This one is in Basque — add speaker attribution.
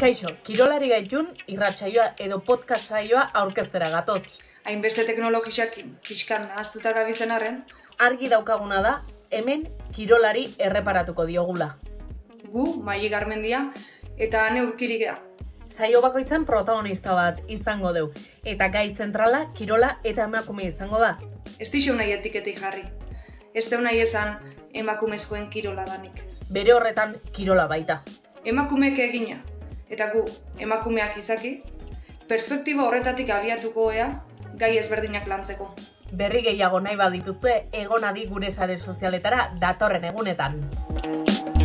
Speaker 1: Kaixo, kirolari gaitun, irratsaioa edo podcast saioa aurkeztera gatoz.
Speaker 2: Hainbeste teknologiak pixkan ahaztuta gabizen arren,
Speaker 1: Argi daukaguna da, hemen kirolari erreparatuko diogula.
Speaker 2: gu, maili garmendia, eta ane urkirigea.
Speaker 1: Saio bakoitzan protagonista bat izango deu, eta gai zentrala kirola eta emakume izango da.
Speaker 2: Ez dixo nahi etiketik jarri. Ez deu nahi esan emakumezkoen kirola danik.
Speaker 1: Bere horretan kirola baita.
Speaker 2: Emakumeek egina, eta gu, emakumeak izaki, perspektiba horretatik abiatuko ea gai ezberdinak lantzeko.
Speaker 1: Berri gehiago nahi badituzue egonadi gure sare sozialetara datorren egunetan.